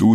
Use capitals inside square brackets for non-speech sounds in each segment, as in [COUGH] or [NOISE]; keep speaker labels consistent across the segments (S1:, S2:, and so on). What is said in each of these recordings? S1: du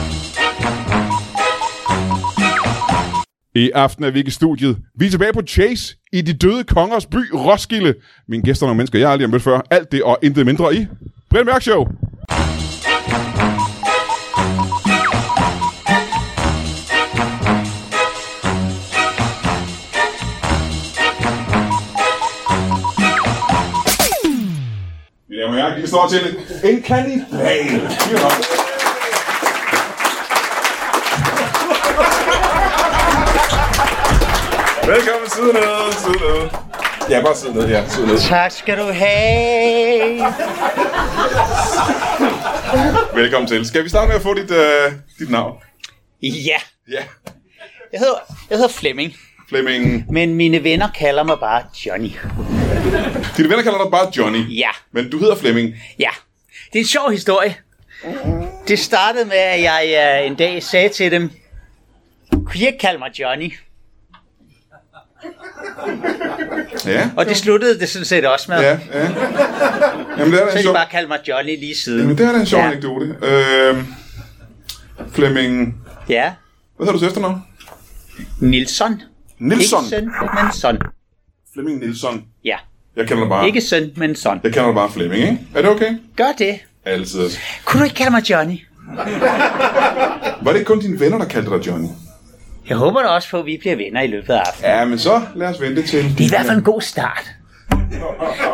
S2: I aften er vi ikke i studiet. Vi er tilbage på Chase i de døde kongers by, Roskilde. Mine gæster er nogle mennesker, jeg aldrig har mødt før. Alt det og intet mindre i Brian Mørk Show. Ja, men jeg står til en kanibal. Velkommen, sidde ned, sidde ned. Ja, bare sidde ned, ja, sidde ned.
S3: Tak skal du have.
S2: Velkommen til. Skal vi starte med at få dit, øh, dit navn?
S3: Ja,
S2: Ja,
S3: jeg hedder, jeg hedder Flemming,
S2: Flemming.
S3: men mine venner kalder mig bare Johnny.
S2: Dine venner kalder dig bare Johnny.
S3: Ja,
S2: Men du hedder Flemming.
S3: ja. Det er en sjov historie. Det startede med, at jeg øh, en dag sagde til dem, kunne I ikke kalde mig Johnny?
S2: Ja,
S3: Og det sluttede det sådan set også med.
S2: ja, ja. Jamen, det er da
S3: Så
S2: en
S3: har de
S2: sjov,
S3: bare kaldt mig Johnny lige siden.
S2: Jamen, det er da en sjov
S3: Ja.
S2: anekdote. Øh, Flemming.
S3: Ja,
S2: Hvad hedder du til efternavn?
S3: Nilsson.
S2: Nilsson.
S3: Ikke søn, men son.
S2: Flemming Nilsson.
S3: Ja,
S2: Jeg kalder dig bare...
S3: ikke søn, men son.
S2: Jeg kalder dig bare Flemming, ikke? Er det okay?
S3: Gør det.
S2: Altid.
S3: Kunne du ikke kalde mig Johnny?
S2: Var det ikke kun dine venner, der kaldte dig Johnny?
S3: Jeg håber da også på, at vi bliver venner i løbet af aftenen.
S2: Ja, men så lad os vente til...
S3: Det er i hvert fald en god start.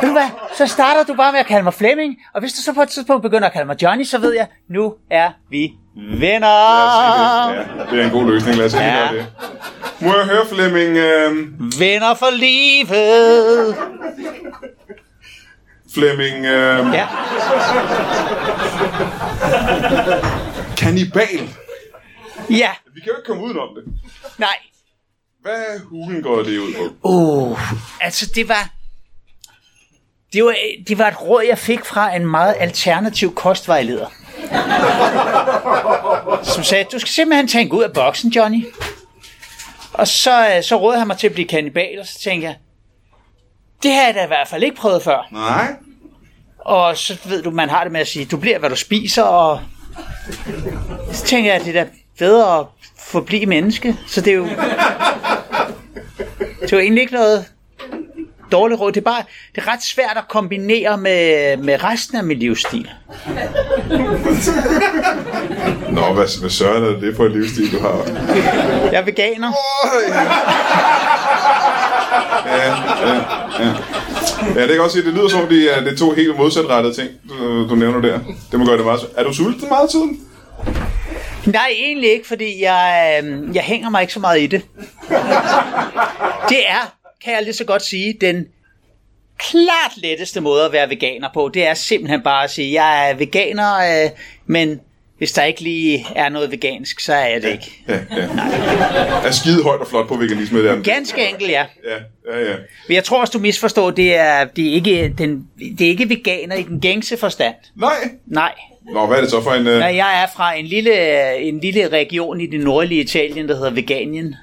S3: Ved du hvad, så starter du bare med at kalde mig Flemming, og hvis du så på et tidspunkt begynder at kalde mig Johnny, så ved jeg, nu er vi venner.
S2: Ja, det er en god løsning. Lad os ikke
S3: Ja.
S2: gøre det. Må jeg høre, Flemming? Øh,
S3: Venner for livet.
S2: Flemming... Øh,
S3: Ja,
S2: Kannibal.
S3: ja,
S2: Vi kan jo ikke komme udenom det.
S3: nej.
S2: Hvad hulen går det ud på?
S3: Uh, altså det var... Det var, det var et råd, jeg fik fra en meget alternativ kostvejleder. Som sagde, du skal simpelthen tænke ud af boksen, Johnny. Og så, øh, så rådede han mig til at blive kannibal, og så tænkte jeg, det har jeg da i hvert fald ikke prøvet før.
S2: Nej.
S3: Og så ved du, man har det med at sige, du bliver, hvad du spiser, og så tænker jeg, det er da bedre at forblive menneske. Så det er jo... Det er jo egentlig ikke noget dårligt råd. Det er bare det er ret svært at kombinere med, med resten af min livsstil.
S2: Nå, hvad, hvad søren er det for en livsstil, du har?
S3: Jeg er veganer.
S2: Ja, det kan jeg godt se. Det lyder som, om, de er- det er to helt modsatrettede ting, du, du nævner der. Det må gøre det meget svært. Er du sulten meget af tiden?
S3: Nej, egentlig ikke, fordi jeg, øhm, jeg hænger mig ikke så meget i det. Det er, kan jeg lige så godt sige, den klart letteste måde at være veganer på. Det er simpelthen bare at sige, jeg er veganer, øh, men hvis der ikke lige er noget vegansk, så er jeg det ikke.
S2: Ja, ja. Er skide højt og flot på veganisme, der.
S3: Ganske enkelt, ja.
S2: Ja, ja, ja.
S3: Men jeg tror også, du misforstår, det er, det er, ikke, den, det er ikke veganer i den gængse forstand.
S2: Nej.
S3: Nej.
S2: Nå, hvad er det så for en... Øh...
S3: Ja, jeg er fra en lille, en lille region i det nordlige Italien, der hedder Veganien.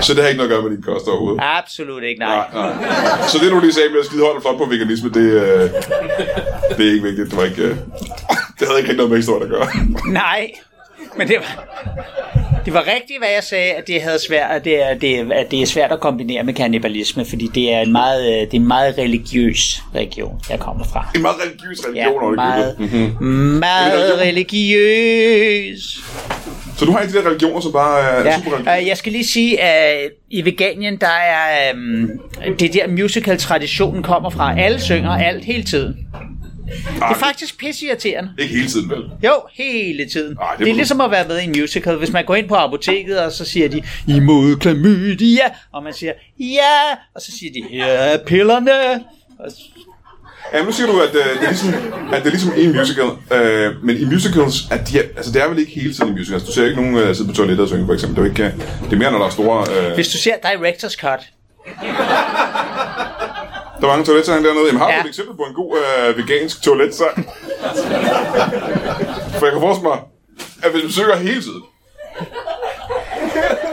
S2: Så det har ikke noget at gøre med din kost overhovedet?
S3: Absolut ikke, nej.
S2: Nej, nej. Så det, du lige sagde med at skide højt og flot på veganisme, det, øh... det er ikke vigtigt. Det, var ikke, øh... [LAUGHS] det havde ikke rigtig noget med historien at gøre.
S3: Nej, men det var, det var rigtigt, hvad jeg sagde, at det, havde svært, at det, er, det, at det er svært at kombinere med kannibalisme, fordi det er en meget, øh, det er en meget religiøs region, jeg kommer fra.
S2: En meget religiøs
S3: Ja,
S2: religion, ja,
S3: meget,
S2: meget...
S3: meget religiøs.
S2: Så du har ikke de der religioner, som bare er ja.
S3: Ja,
S2: super religiøse?
S3: øh, jeg skal lige sige, at i Veganien, der er øhm, det der musical-traditionen kommer fra. Alle synger alt hele tiden. Det er faktisk pisseirriterende.
S2: Ikke hele tiden, vel?
S3: Jo, hele tiden.
S2: Ej,
S3: Ej,
S2: det må
S3: det, det er
S2: du-
S3: ligesom at være med i en musical. Hvis man går ind på apoteket, og så siger de, imod klamydia, og man siger, ja, og så siger de, her er pillerne. Og s-
S2: Ja, nu siger du, at, øh, det er ligesom, at det er ligesom i en musical, øh, men i musicals, at de er, altså det er vel ikke hele tiden i musicals. Du ser ikke nogen øh, sidde på toilettet og synge, for eksempel. Det er, jo ikke, øh, det er mere, når der er store... Øh,
S3: Hvis du ser Directors Cut,
S2: der er mange toiletsange dernede. Jamen, har du
S3: Ja.
S2: et eksempel på en god øh, vegansk toiletsang? for jeg kan forestille mig, at hvis man synger hele tiden,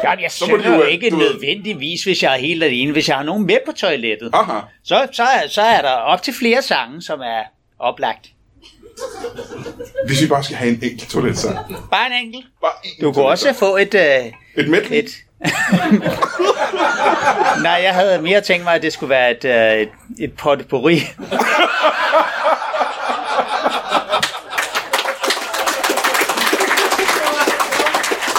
S3: Jamen, jeg
S2: må de
S3: synger
S2: jo,
S3: jo
S2: øh,
S3: ikke
S2: du ved-
S3: nødvendigvis, hvis jeg er helt alene. Hvis jeg har nogen med på toilettet,
S2: aha,
S3: så, så, er- så er der op til flere sange, som er oplagt.
S2: hvis vi bare skal have en enkelt toiletsang.
S3: Bare en enkelt.
S2: Bare en
S3: Du kunne også få et... Øh,
S2: Et medley?
S3: et [LAUGHS] Nej, jeg havde mere tænkt mig, at det skulle være et, øh, et, et potpourri.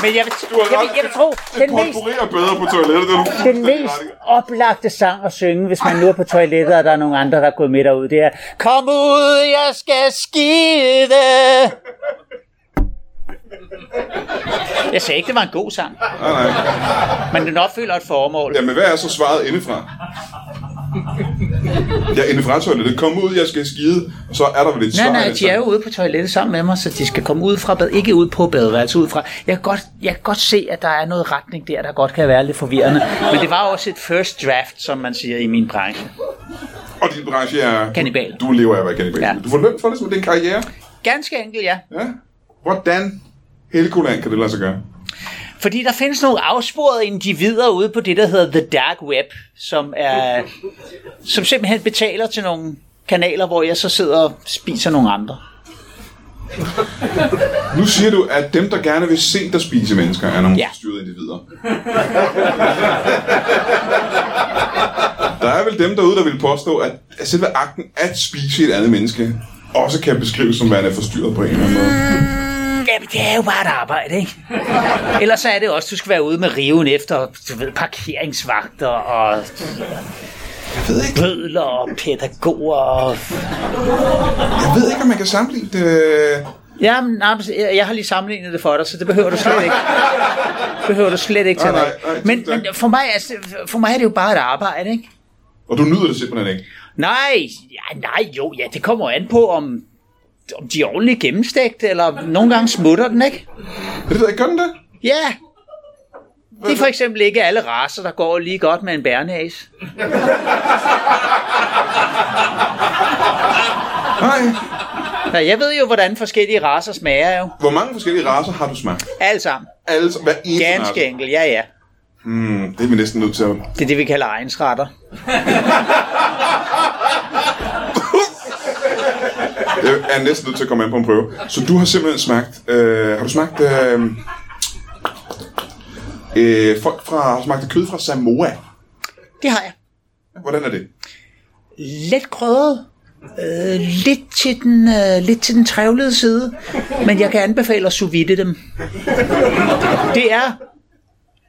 S3: Men jeg vil,
S2: har
S3: jeg
S2: ret.
S3: vil, jeg vil tro,
S2: Et
S3: den mest
S2: potpourri er bedre på toilettet, det er du
S3: den
S2: fuldstændig
S3: mest
S2: ret i.
S3: oplagte sang at synge, hvis man nu er på toilettet, og der er nogle andre, der er gået med derud, det er Kom ud, jeg skal skide. Jeg sagde ikke, det var en god sang,
S2: Nej, nej.
S3: men den opfylder et formål.
S2: Jamen, hvad er så svaret indefra? Ja, indefra toilettet. Kom ud, jeg skal skide. Og så er der vel et
S3: Nej,
S2: svar.
S3: nej,
S2: altså.
S3: de er jo ude på toilettet sammen med mig, så de skal komme ud fra bad, ikke ud på badeværelset, ud fra. Jeg kan, godt, jeg kan godt se, at der er noget retning der, der godt kan være lidt forvirrende. Men det var også et first draft, som man siger i min branche.
S2: Og din branche er...
S3: Kannibal.
S2: Du lever af at være kannibal. Ja.
S3: Ja.
S2: Du får løn for det som din karriere.
S3: Ganske enkelt, ja.
S2: Ja. Hvordan Helgoland kan det lade sig gøre?
S3: Fordi der findes nogle afsporede individer ude på det, der hedder The Dark Web, som, er, som simpelthen betaler til nogle kanaler, hvor jeg så sidder og spiser nogle andre.
S2: Nu siger du, at dem, der gerne vil se dig spise mennesker, er nogle
S3: Ja.
S2: ja. styrede individer. der er vel dem derude, der vil påstå, at selve akten at spise et andet menneske, også kan beskrives som værende forstyrret på en eller anden måde.
S3: Jamen, det er jo bare et arbejde, ikke? Ellers så er det også, du skal være ude med riven efter, du ved, parkeringsvagter og
S2: Jeg ved ikke,
S3: bødler og pædagoger og...
S2: jeg ved ikke om man kan sammenligne det. øh,
S3: Jamen, nej, men jeg jeg har lige sammenlignet det for dig, så det behøver du slet ikke. behøver du slet ikke til
S2: Nej, nej, nej,
S3: men,
S2: tusind tak.
S3: men for, mig, altså, for mig er det jo bare et arbejde, ikke?
S2: Og du nyder det simpelthen ikke.
S3: Nej, ja, nej, jo, ja, det kommer jo an på, om, om de er ordentligt gennemstegt, eller nogle gange smutter den, ikke?
S2: Det ved jeg ikke, gør den det?
S3: Ja, det er for eksempel ikke alle raser, der går lige godt med en bærnæs.
S2: Nej.
S3: Ja, jeg ved jo, hvordan forskellige raser smager jo.
S2: Hvor mange forskellige raser har du smagt?
S3: Alle sammen.
S2: Alle, som- hver eneste race.
S3: Ganske enkelt, ja, ja.
S2: Hmm, det er vi næsten nødt til at...
S3: Det er det, vi kalder egensretter.
S2: Jeg er næsten nødt til at komme ind på en prøve. Så du har simpelthen smagt... Øh, har du smagt... Øh, øh, folk fra, har smagt af kød fra Samoa.
S3: Det har jeg.
S2: Hvordan er det?
S3: Let krødret. Øh, lidt, til den, øh, lidt til den trævlede side. Men jeg kan anbefale at sous vide dem. Det er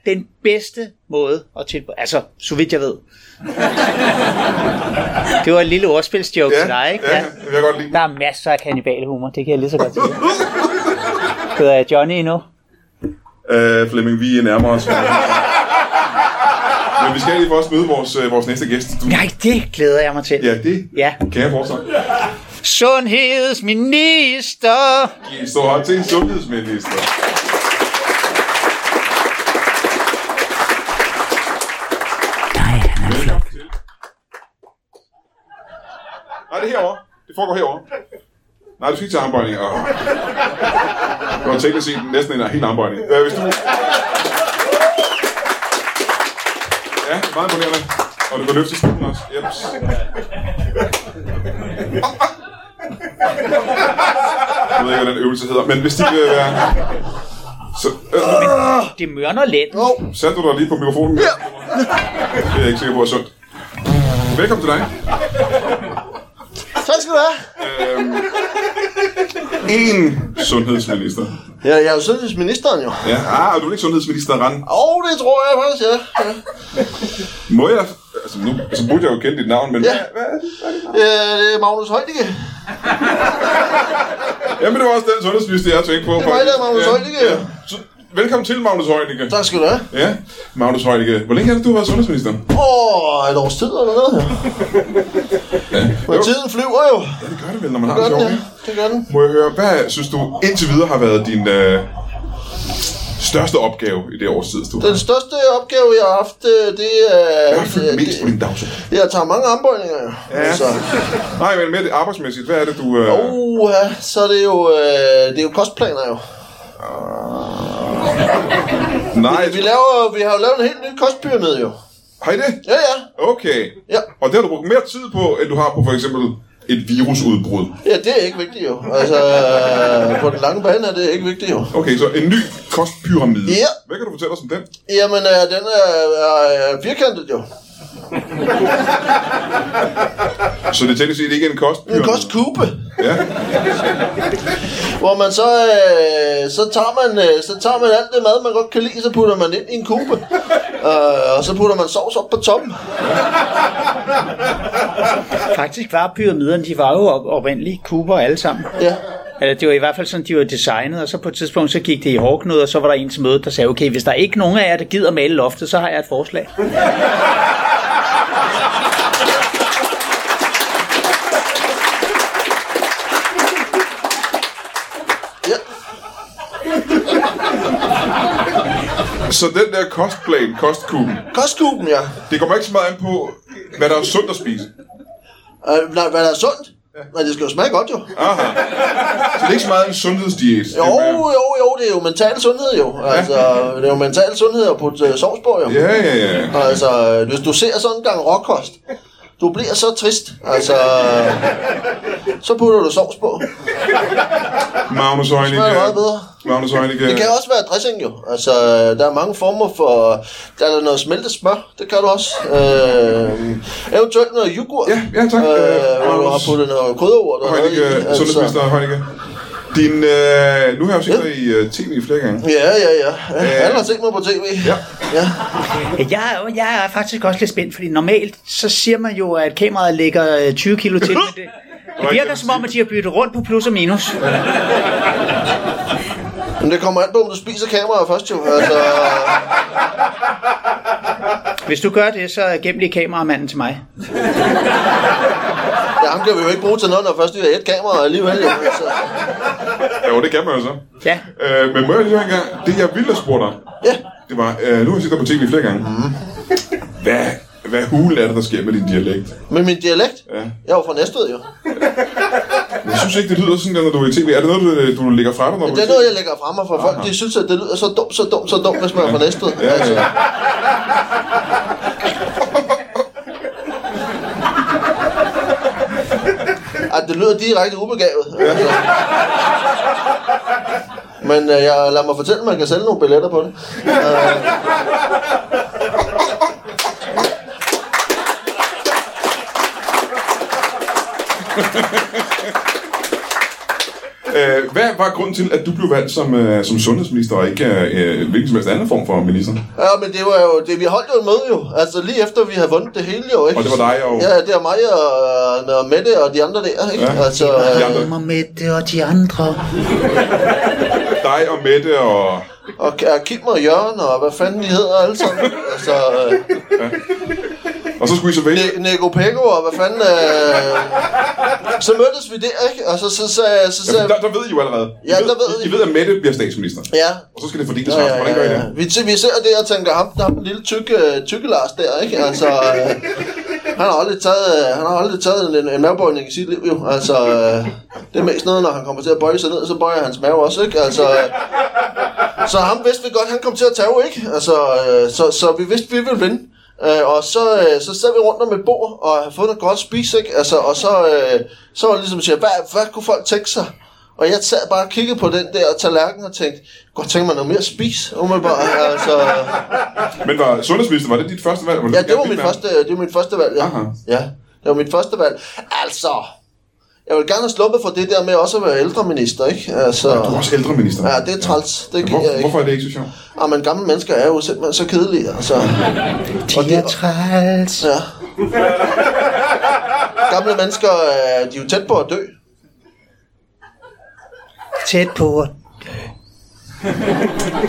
S3: den bedste måde at tilberede. Altså, så vidt jeg ved. Det var et lille ordspilsjoke til dig, ikke?
S2: ja, jeg kan godt lide.
S3: Der er masser af kanibalhumor, det kan jeg lige så godt sige. Hedder jeg Johnny endnu?
S2: Øh, Flemming, vi nærmer
S3: [LAUGHS]
S2: os. Men vi skal lige først møde vores, øh, vores næste gæst. Du,
S3: Nej, det glæder jeg mig til.
S2: ja, det
S3: ja.
S2: kan jeg fortsætte.
S3: Sundhedsminister!
S2: Giv en stor hånd til sundhedsminister.
S3: Nej, han er flot.
S2: Velkommen til. Nej, det er herovre. Det foregår herovre. Nej, du skal ikke tage armbøjninger. Oh. Du har tænkt at se den næsten en helt armbøjning. Øh, hvis du... Ja, meget imponerende. Og du kan løfte stolen også. Jeps. Jeg ved ikke, hvad den øvelse hedder, men hvis de vil være... Så, øh,
S3: Det mørner lidt.
S2: satte du dig lige på mikrofonen? Ja. Det er jeg ikke sikker på er sundt. Velkommen til dig.
S4: Tak skal du have.
S2: Øhm, En sundhedsminister.
S4: Ja, jeg er jo sundhedsministeren jo.
S2: Ja, ah, du er ikke sundhedsminister, Rand.
S4: Og det tror jeg faktisk, ja. ja.
S2: Må jeg... Altså, nu altså, burde jeg jo kende dit navn, men... Ja.
S4: Ja.
S2: Hvad, hvad er det? Hvad er dit navn?
S4: Øh, det er Magnus Højdike.
S2: Jamen, det var også den sundhedsminister, jeg tænkte på. Det
S4: mig, der er Magnus Heunicke.
S2: Så, Velkommen til, Magnus Heunicke.
S4: Tak skal du have.
S2: Ja, Magnus Heunicke. Hvor længe har du været sundhedsminister?
S4: Åh, et års tid eller noget her. Men tiden flyver jo.
S2: Det gør det vel, når man har
S4: Det
S2: det
S4: gør den,
S2: sjovt.
S4: ja.
S2: ikke?
S4: Det gør den.
S2: Må jeg høre, hvad synes du indtil videre har været din øh, største opgave i det års tid, du
S4: Den største opgave, jeg har haft, øh, det er...
S2: Hvad har fyldt
S4: det-
S2: mest på din dagsorden?
S4: Jeg tager mange armbøjninger, jo. Altså.
S2: Ja. Nej, men mere det arbejdsmæssigt. Hvad er det, du... Øh,
S4: Uh, ja, så er det jo, øh, det er jo kostplaner jo.
S2: nej,
S4: Vi, laver, vi har jo lavet en helt ny kostpyramide jo.
S2: har I det?
S4: Ja, ja.
S2: Okay.
S4: Ja.
S2: Og det har du brugt mere tid på, end du har på for eksempel et virusudbrud.
S4: Ja, det er ikke vigtigt jo. Altså, øh, på den lange bane er det ikke vigtigt jo.
S2: Okay, så en ny kostpyramide.
S4: Ja.
S2: Hvad kan du fortælle os om den?
S4: Jamen, øh, den er, er, er firkantet jo.
S2: Så det er teknisk set ikke en
S4: En
S2: kostpyramide?
S4: kostkube.
S2: Ja.
S4: Hvor man så, øh, så, tager man, øh, så tager man alt det mad, man godt kan lide, så putter man ind i en kube. Øh, og så putter man sovs op på toppen.
S3: Faktisk var pyramiderne, de var jo op- oprindeligt kuber alle sammen.
S4: Ja.
S3: Eller det var i hvert fald sådan, de var designet, og så på et tidspunkt, så gik det i hårdknud, og så var der en til mødet, der sagde, okay, hvis der er ikke nogen af jer, der gider male loftet, så har jeg et forslag.
S4: ja.
S2: Så den der kostplan, kostkuben,
S4: Kostkuben, ja.
S2: det kommer ikke så meget an på, hvad der er sundt at spise.
S4: Øh, nej, hvad der er sundt? Nej, det skal jo smage godt jo.
S2: Aha. Så det er ikke så meget en sundhedsdiæt. det er
S4: Jo,
S2: mere-
S4: jo, jo, det er jo mental sundhed jo. Altså, det er jo mental sundhed at putte øh, sovs på jo.
S2: Ja, ja, ja.
S4: Altså, øh, hvis du ser sådan en gang råkost, du bliver så trist. Altså, øh, så putter du sovs på.
S2: Magnus Heunicke.
S4: Smager meget bedre.
S2: Magnus Heunicke.
S4: Det kan også være dressing jo. Altså, der er mange former for... Der er der noget smeltet smør, det kan du også. Øh, eventuelt noget yoghurt.
S2: Ja, ja, tak. Øh,
S4: Øh, hvor du har puttet noget krydderurt og noget i. altså.
S2: Heunicke, sundhedsminister Heunicke. Din, øh, nu har jeg jo set
S4: Ja.
S2: dig i øh, tv flere gange.
S4: Ja, ja, ja. ja. Alle har set mig på tv.
S2: Øh. Ja.
S4: ja.
S3: Jeg, er- jeg er faktisk også lidt spændt, fordi normalt, så siger man jo, at kameraet lægger øh, 20 kilo til, men det, det virker som om, at de har byttet rundt på plus og minus.
S4: Men det kommer an på, om du spiser kameraet først jo. Altså,
S3: Hvis du gør det, så gem lige kameramanden til mig.
S4: ja, ham kan vi jo ikke bruge til noget, når først vi har et kamera alligevel jo. Altså,
S2: Jo, det kan man jo så.
S3: Ja.
S2: Øh, men må jeg lige høre en gang, det jeg ville have spurgt dig,
S4: ja.
S2: det var, øh, nu har jeg set dig på tv flere gange.
S4: Mhm.
S2: [LAUGHS] Hvad, hvad hulen er det, der sker med din dialekt?
S4: Men min dialekt?
S2: Ja.
S4: Jeg er jo fra Næstved jo.
S2: Jeg synes ikke, det lyder sådan, der, når du er i tv. Er det noget, du, du lægger fra dig, når du
S4: Det er noget, jeg lægger frem mig for folk. De synes, at det lyder så dumt, så dumt, så dumt, hvis man er fra Næstved.
S2: ja.
S4: Altså, at det lyder direkte ubegavet. Altså. Men øh, jeg lader mig fortælle, at man kan sælge nogle billetter på det.
S2: Øh, hvad var grunden til, at du blev valgt som, øh, som sundhedsminister, og ikke øh, hvilken som helst anden form for minister?
S4: Ja, men det var jo, det, vi holdt jo et møde jo, altså lige efter vi havde vundet det hele jo, ikke?
S2: Og det var dig og-
S4: Ja, det var mig og, og øh, Mette og de andre der, ikke?
S2: Ja.
S4: Altså,
S2: De
S4: øh,
S2: andre.
S3: Mig med det og de andre.
S2: Dig og Mette og...
S4: og, og Kim og Jørgen og hvad fanden de hedder alle sammen, altså, øh,
S2: Og så skulle I så vælge...
S4: Ne- Nego Pego og hvad fanden, øh, så mødtes vi der, ikke? Og så, så, så, så, så,
S2: Ja, der, der ved I jo allerede. I
S4: Ja,
S2: ved,
S4: der ved
S2: I, I
S4: I.
S2: ved, at Mette bliver statsminister.
S4: ja,
S2: Og så skal det fordeles
S4: Ja,
S2: ja,
S4: ja,
S2: Hvordan
S4: ja,
S2: gør I
S4: ja.
S2: det?
S4: Vi, t- vi ser det og tænker, ham, der ham den lille tykke, øh, tykke Lars der, ikke? Altså, øh, han har aldrig taget, øh, han har aldrig taget en, en mavebøjning i sit liv, jo. Altså, øh, det er mest noget, når han kommer til at bøje sig ned, så bøjer hans mave også, ikke? Altså, øh, så ham vidste vi godt, han kom til at tage, ikke? Altså, øh, så, så vi vidste, vi ville vinde. Øh, og så, øh, så sad vi rundt om et bord og havde fået noget godt at spise, ikke? Altså, og så, øh, så var det ligesom, at sige, hvad, hvad kunne folk tænke sig? Og jeg sad bare og kiggede på den der tallerken og tænkte, godt tænker man noget mere at spise, umiddelbart. altså,
S2: Men var sundhedsminister, var det dit første valg?
S4: ja, det var mit første, det var mit første valg, ja.
S2: Aha.
S4: ja. Det var mit første valg. Altså, jeg vil gerne have sluppet for det der med også at være ældreminister, ikke? Altså,
S2: Du er også ældre minister.
S4: ja, det er træls. Det
S2: Hvor,
S4: giver jeg ikke.
S2: hvorfor er det ikke så sjovt?
S4: Ah, men gamle mennesker er jo simpelthen så kedelige, altså.
S3: De er træls.
S4: Ja. [LAUGHS] Gamle mennesker, øh, de er jo tæt på at dø.
S3: Tæt på.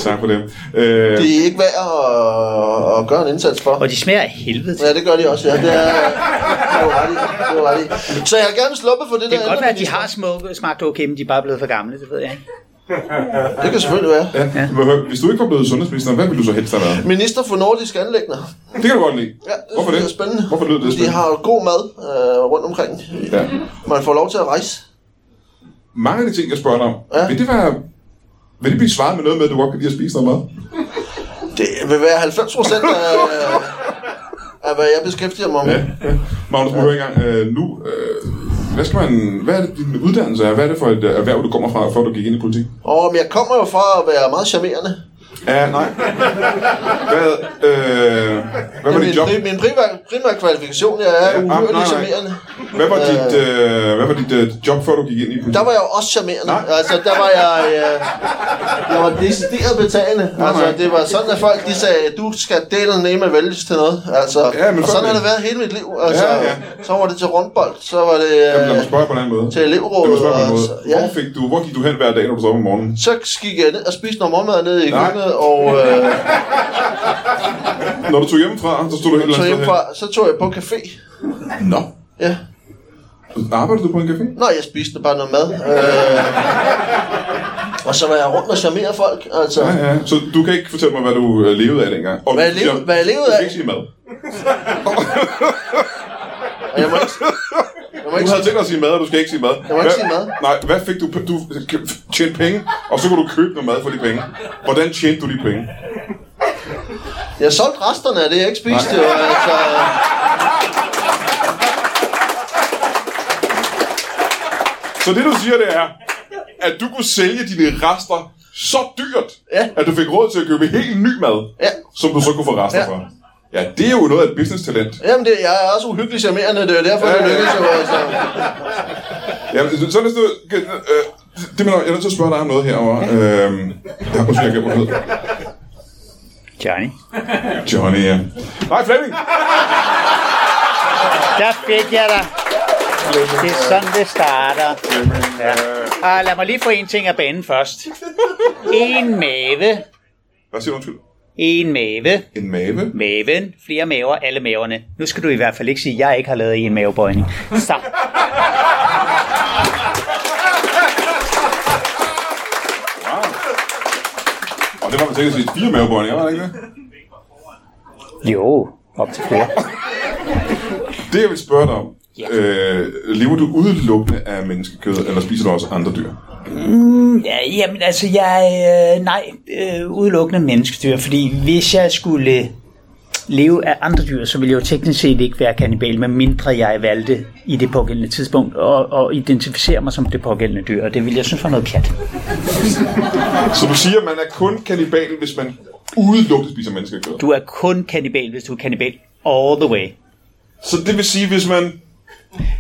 S2: Tak for det. Øh,
S4: Det er ikke værd at, at gøre en indsats for.
S3: Og de smager af helvede.
S4: Ja, det gør de også, ja. Det er, det er jo ret i. Det er jo ret i. Så jeg har gerne sluppet for det,
S3: Det
S4: der
S3: kan godt være, at de
S4: ældreminister.
S3: har smukke, smagt okay, men de er bare blevet for gamle, det ved jeg ikke.
S4: Det kan selvfølgelig være.
S2: ja. hvor- Hvis du ikke var blevet sundhedsminister, hvad ville du så helst have været?
S4: Minister for nordiske anlægner.
S2: Det kan du godt lide.
S4: Ja, det
S2: Hvorfor
S4: synes
S2: det?
S4: jeg er spændende.
S2: Hvorfor lyder det
S4: De
S2: spændende?
S4: har jo god mad øh, rundt omkring.
S2: Ja.
S4: Man får lov til at rejse.
S2: Mange af de ting, jeg spørger dig om, ja.
S4: Ja.
S2: vil det være... Vil det blive svaret med noget med, at du godt kan lide at spise noget mad?
S4: Det vil være 90 procent
S2: [LAUGHS]
S4: af, af, hvad jeg beskæftiger mig med.
S2: Magnus, må jeg høre engang. Øh, nu, øh, hvad, skal man, hvad er det, din uddannelse er? Hvad er det for et øh, erhverv, du kommer fra, før du gik ind i politik?
S4: Og men jeg kommer jo fra at være meget charmerende.
S2: Ja, nej. Hvad, øh, hvad var
S4: Min,
S2: dit job?
S4: pri- min primære, primære kvalifikation jeg er
S2: Ja,
S4: ja,
S2: ah, nej,
S4: uhyrelig
S2: nej.
S4: charmerende.
S2: Hvad var dit, øh, hvad var dit øh, job, før du gik ind i politik?
S4: Der var jeg jo også charmerende.
S2: Nej.
S4: Altså, der var jeg... Øh, jeg var decideret betagende. altså,
S2: nej.
S4: det var sådan, at folk de sagde, du skal delen nemme vælges til noget. Altså,
S2: Ja, men
S4: og sådan
S2: fandme.
S4: har det været hele mit liv. Altså,
S2: Ja, ja.
S4: Så var det til rundbold, så var det...
S2: Jamen, lad
S4: Øh,
S2: mig spørge på en anden måde.
S4: til elevrådet
S2: Lad mig spørge på en anden
S4: og
S2: måde.
S4: så- ja.
S2: Hvor, fik du, hvor gik du hen hver dag, når du stod op om morgenen?
S4: så gik jeg ned og spiste noget morgenmad nede i
S2: Nej.
S4: køkkenet, og
S2: [LAUGHS]
S4: øh,
S2: Når du tog hjemmefra, så stod du helt
S4: så,
S2: andet sted
S4: hjemmefra, så tog jeg på café.
S2: hen. Nå.
S4: Ja.
S2: Arbejdede du på en café?
S4: Nå, jeg spiste bare noget mad. Øh, og så var jeg rundt og charmerede folk. Altså,
S2: Ja, ja. Så du kan ikke fortælle mig, hvad du øh, levede af dengang? Og
S4: Hvad
S2: du
S4: jeg levede-
S2: siger-
S4: hvad jeg levede
S2: Du
S4: af?
S2: kan ikke sige mad.
S4: og jeg må ikke, jeg må
S2: Du
S4: ikke
S2: havde tænkt dig at sige mad, og du skal ikke sige mad. Jeg
S4: må ikke sige mad.
S2: Nej, hvad fik du? Du tjente penge, og så kunne du købe noget mad for de penge. Hvordan tjente du de penge?
S4: Jeg solgte resterne af det, jeg ikke spiste. Jo, altså,
S2: Så det, du siger, det er, at du kunne sælge dine rester så dyrt,
S4: Ja.
S2: at du fik råd til at købe helt ny mad,
S4: Ja.
S2: som du så kunne få rester
S4: Ja.
S2: fra. Ja, det er jo noget af et business-talent.
S4: jamen, det, jeg er også uhyggelig charmerende. Det er jo derfor,
S2: Ja,
S4: det
S2: ja, ja.
S4: lykkedes. Jo, altså.
S2: Ja, men så er det sådan noget... kan- Øh, det mener, jeg, jeg er nødt til at spørge dig om noget herovre. Øhm, ja, undskyld, jeg glemmer noget.
S3: Johnny.
S2: Johnny, ja. Nej, Flemming!
S3: Der fik jeg dig. Det er sådan, det starter. Ja. Og lad mig lige få en ting af banen først. En mave.
S2: Hvad siger du, undskyld?
S3: En mave.
S2: En mave?
S3: Maven. Flere maver. Alle maverne. Nu skal du i hvert fald ikke sige, at jeg ikke har lavet en mavebøjning. Så.
S2: Og det var vel sikkert sige fire mavebåndinger, var det ikke det?
S3: Jo, op til flere.
S2: Det, jeg vil spørge dig om,
S3: Ja.
S2: øh, lever du udelukkende af menneskekød, eller spiser du også andre dyr?
S3: Ja, jamen altså, jeg... Øh, nej, øh, udelukkende menneskedyr, fordi hvis jeg skulle leve af andre dyr, så ville jeg jo teknisk set ikke være kannibal, medmindre jeg valgte i det pågældende tidspunkt at, at identificere mig som det pågældende dyr, og det ville jeg synes var noget pjat.
S2: Så du siger, at man er kun kannibal, hvis man udelukkende spiser menneskekød?
S3: Du er kun kannibal, hvis du er kannibal all the way.
S2: Så det vil sige, hvis man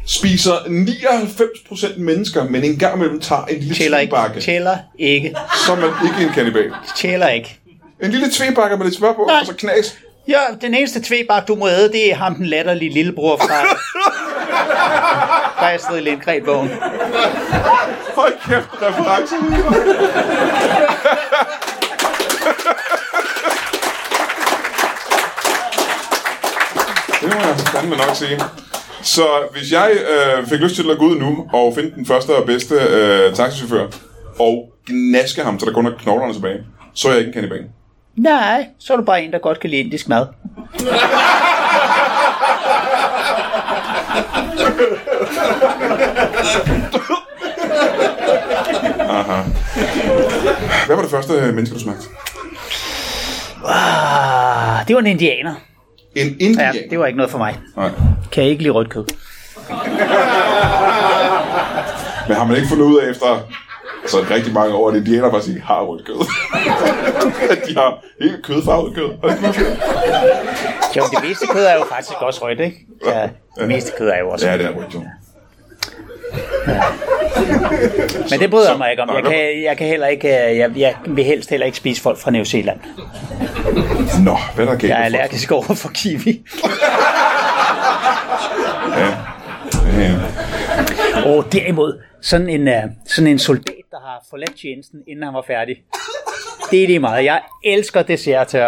S2: spiser 99% mennesker, men en gang imellem tager en lille
S3: Tæller ikke,
S2: tvebakke,
S3: tæller ikke,
S2: så er man ikke en kannibal.
S3: tæller ikke.
S2: En lille tvebakke med lidt smør på,
S3: Nej.
S2: og så knas.
S3: Ja, den eneste tvebak, du må æde, det er ham den latterlige lillebror fra... fra Astrid Lindgren-bogen.
S2: Hold kæft, reference. det må jeg fandme nok sige. Så hvis jeg øh, fik lyst til at gå ud nu og finde den første og bedste øh, taxichauffør og gnaske ham, så der kun er knoglerne tilbage, så er jeg ikke en kannibal.
S3: Nej, så er du bare en, der godt kan lide indisk mad.
S2: Hvad var det første øh, menneske, du smagte?
S3: Ah, det var en indianer.
S2: En indian.
S3: Ja, det var ikke noget for mig.
S2: Nej.
S3: Kan jeg ikke lide rødt kød.
S2: Men har man ikke fundet ud af efter så rigtig mange år, at indianer bare siger, har rødt kød. [LAUGHS] at de har helt kødfarvet kød. Og det er fedt.
S3: Jo, det meste kød er jo faktisk også rødt, ikke? Ja, det meste kød er jo også
S2: Ja,
S3: rødt.
S2: det er rødt jo.
S3: Men det bryder jeg mig ikke om.
S2: Nå,
S3: Jeg
S2: det-
S3: kan, jeg kan heller ikke, øh, jeg, jeg vil helst heller ikke spise folk fra New Zealand.
S2: Nå, hvad er der galt?
S3: Jeg er
S2: med folk?
S3: allergisk over for kiwi.
S2: Ja.
S3: Og derimod, sådan en, øh, sådan en soldat, der har forladt tjenesten, inden han var færdig. Det er lige meget. Jeg elsker dessertør.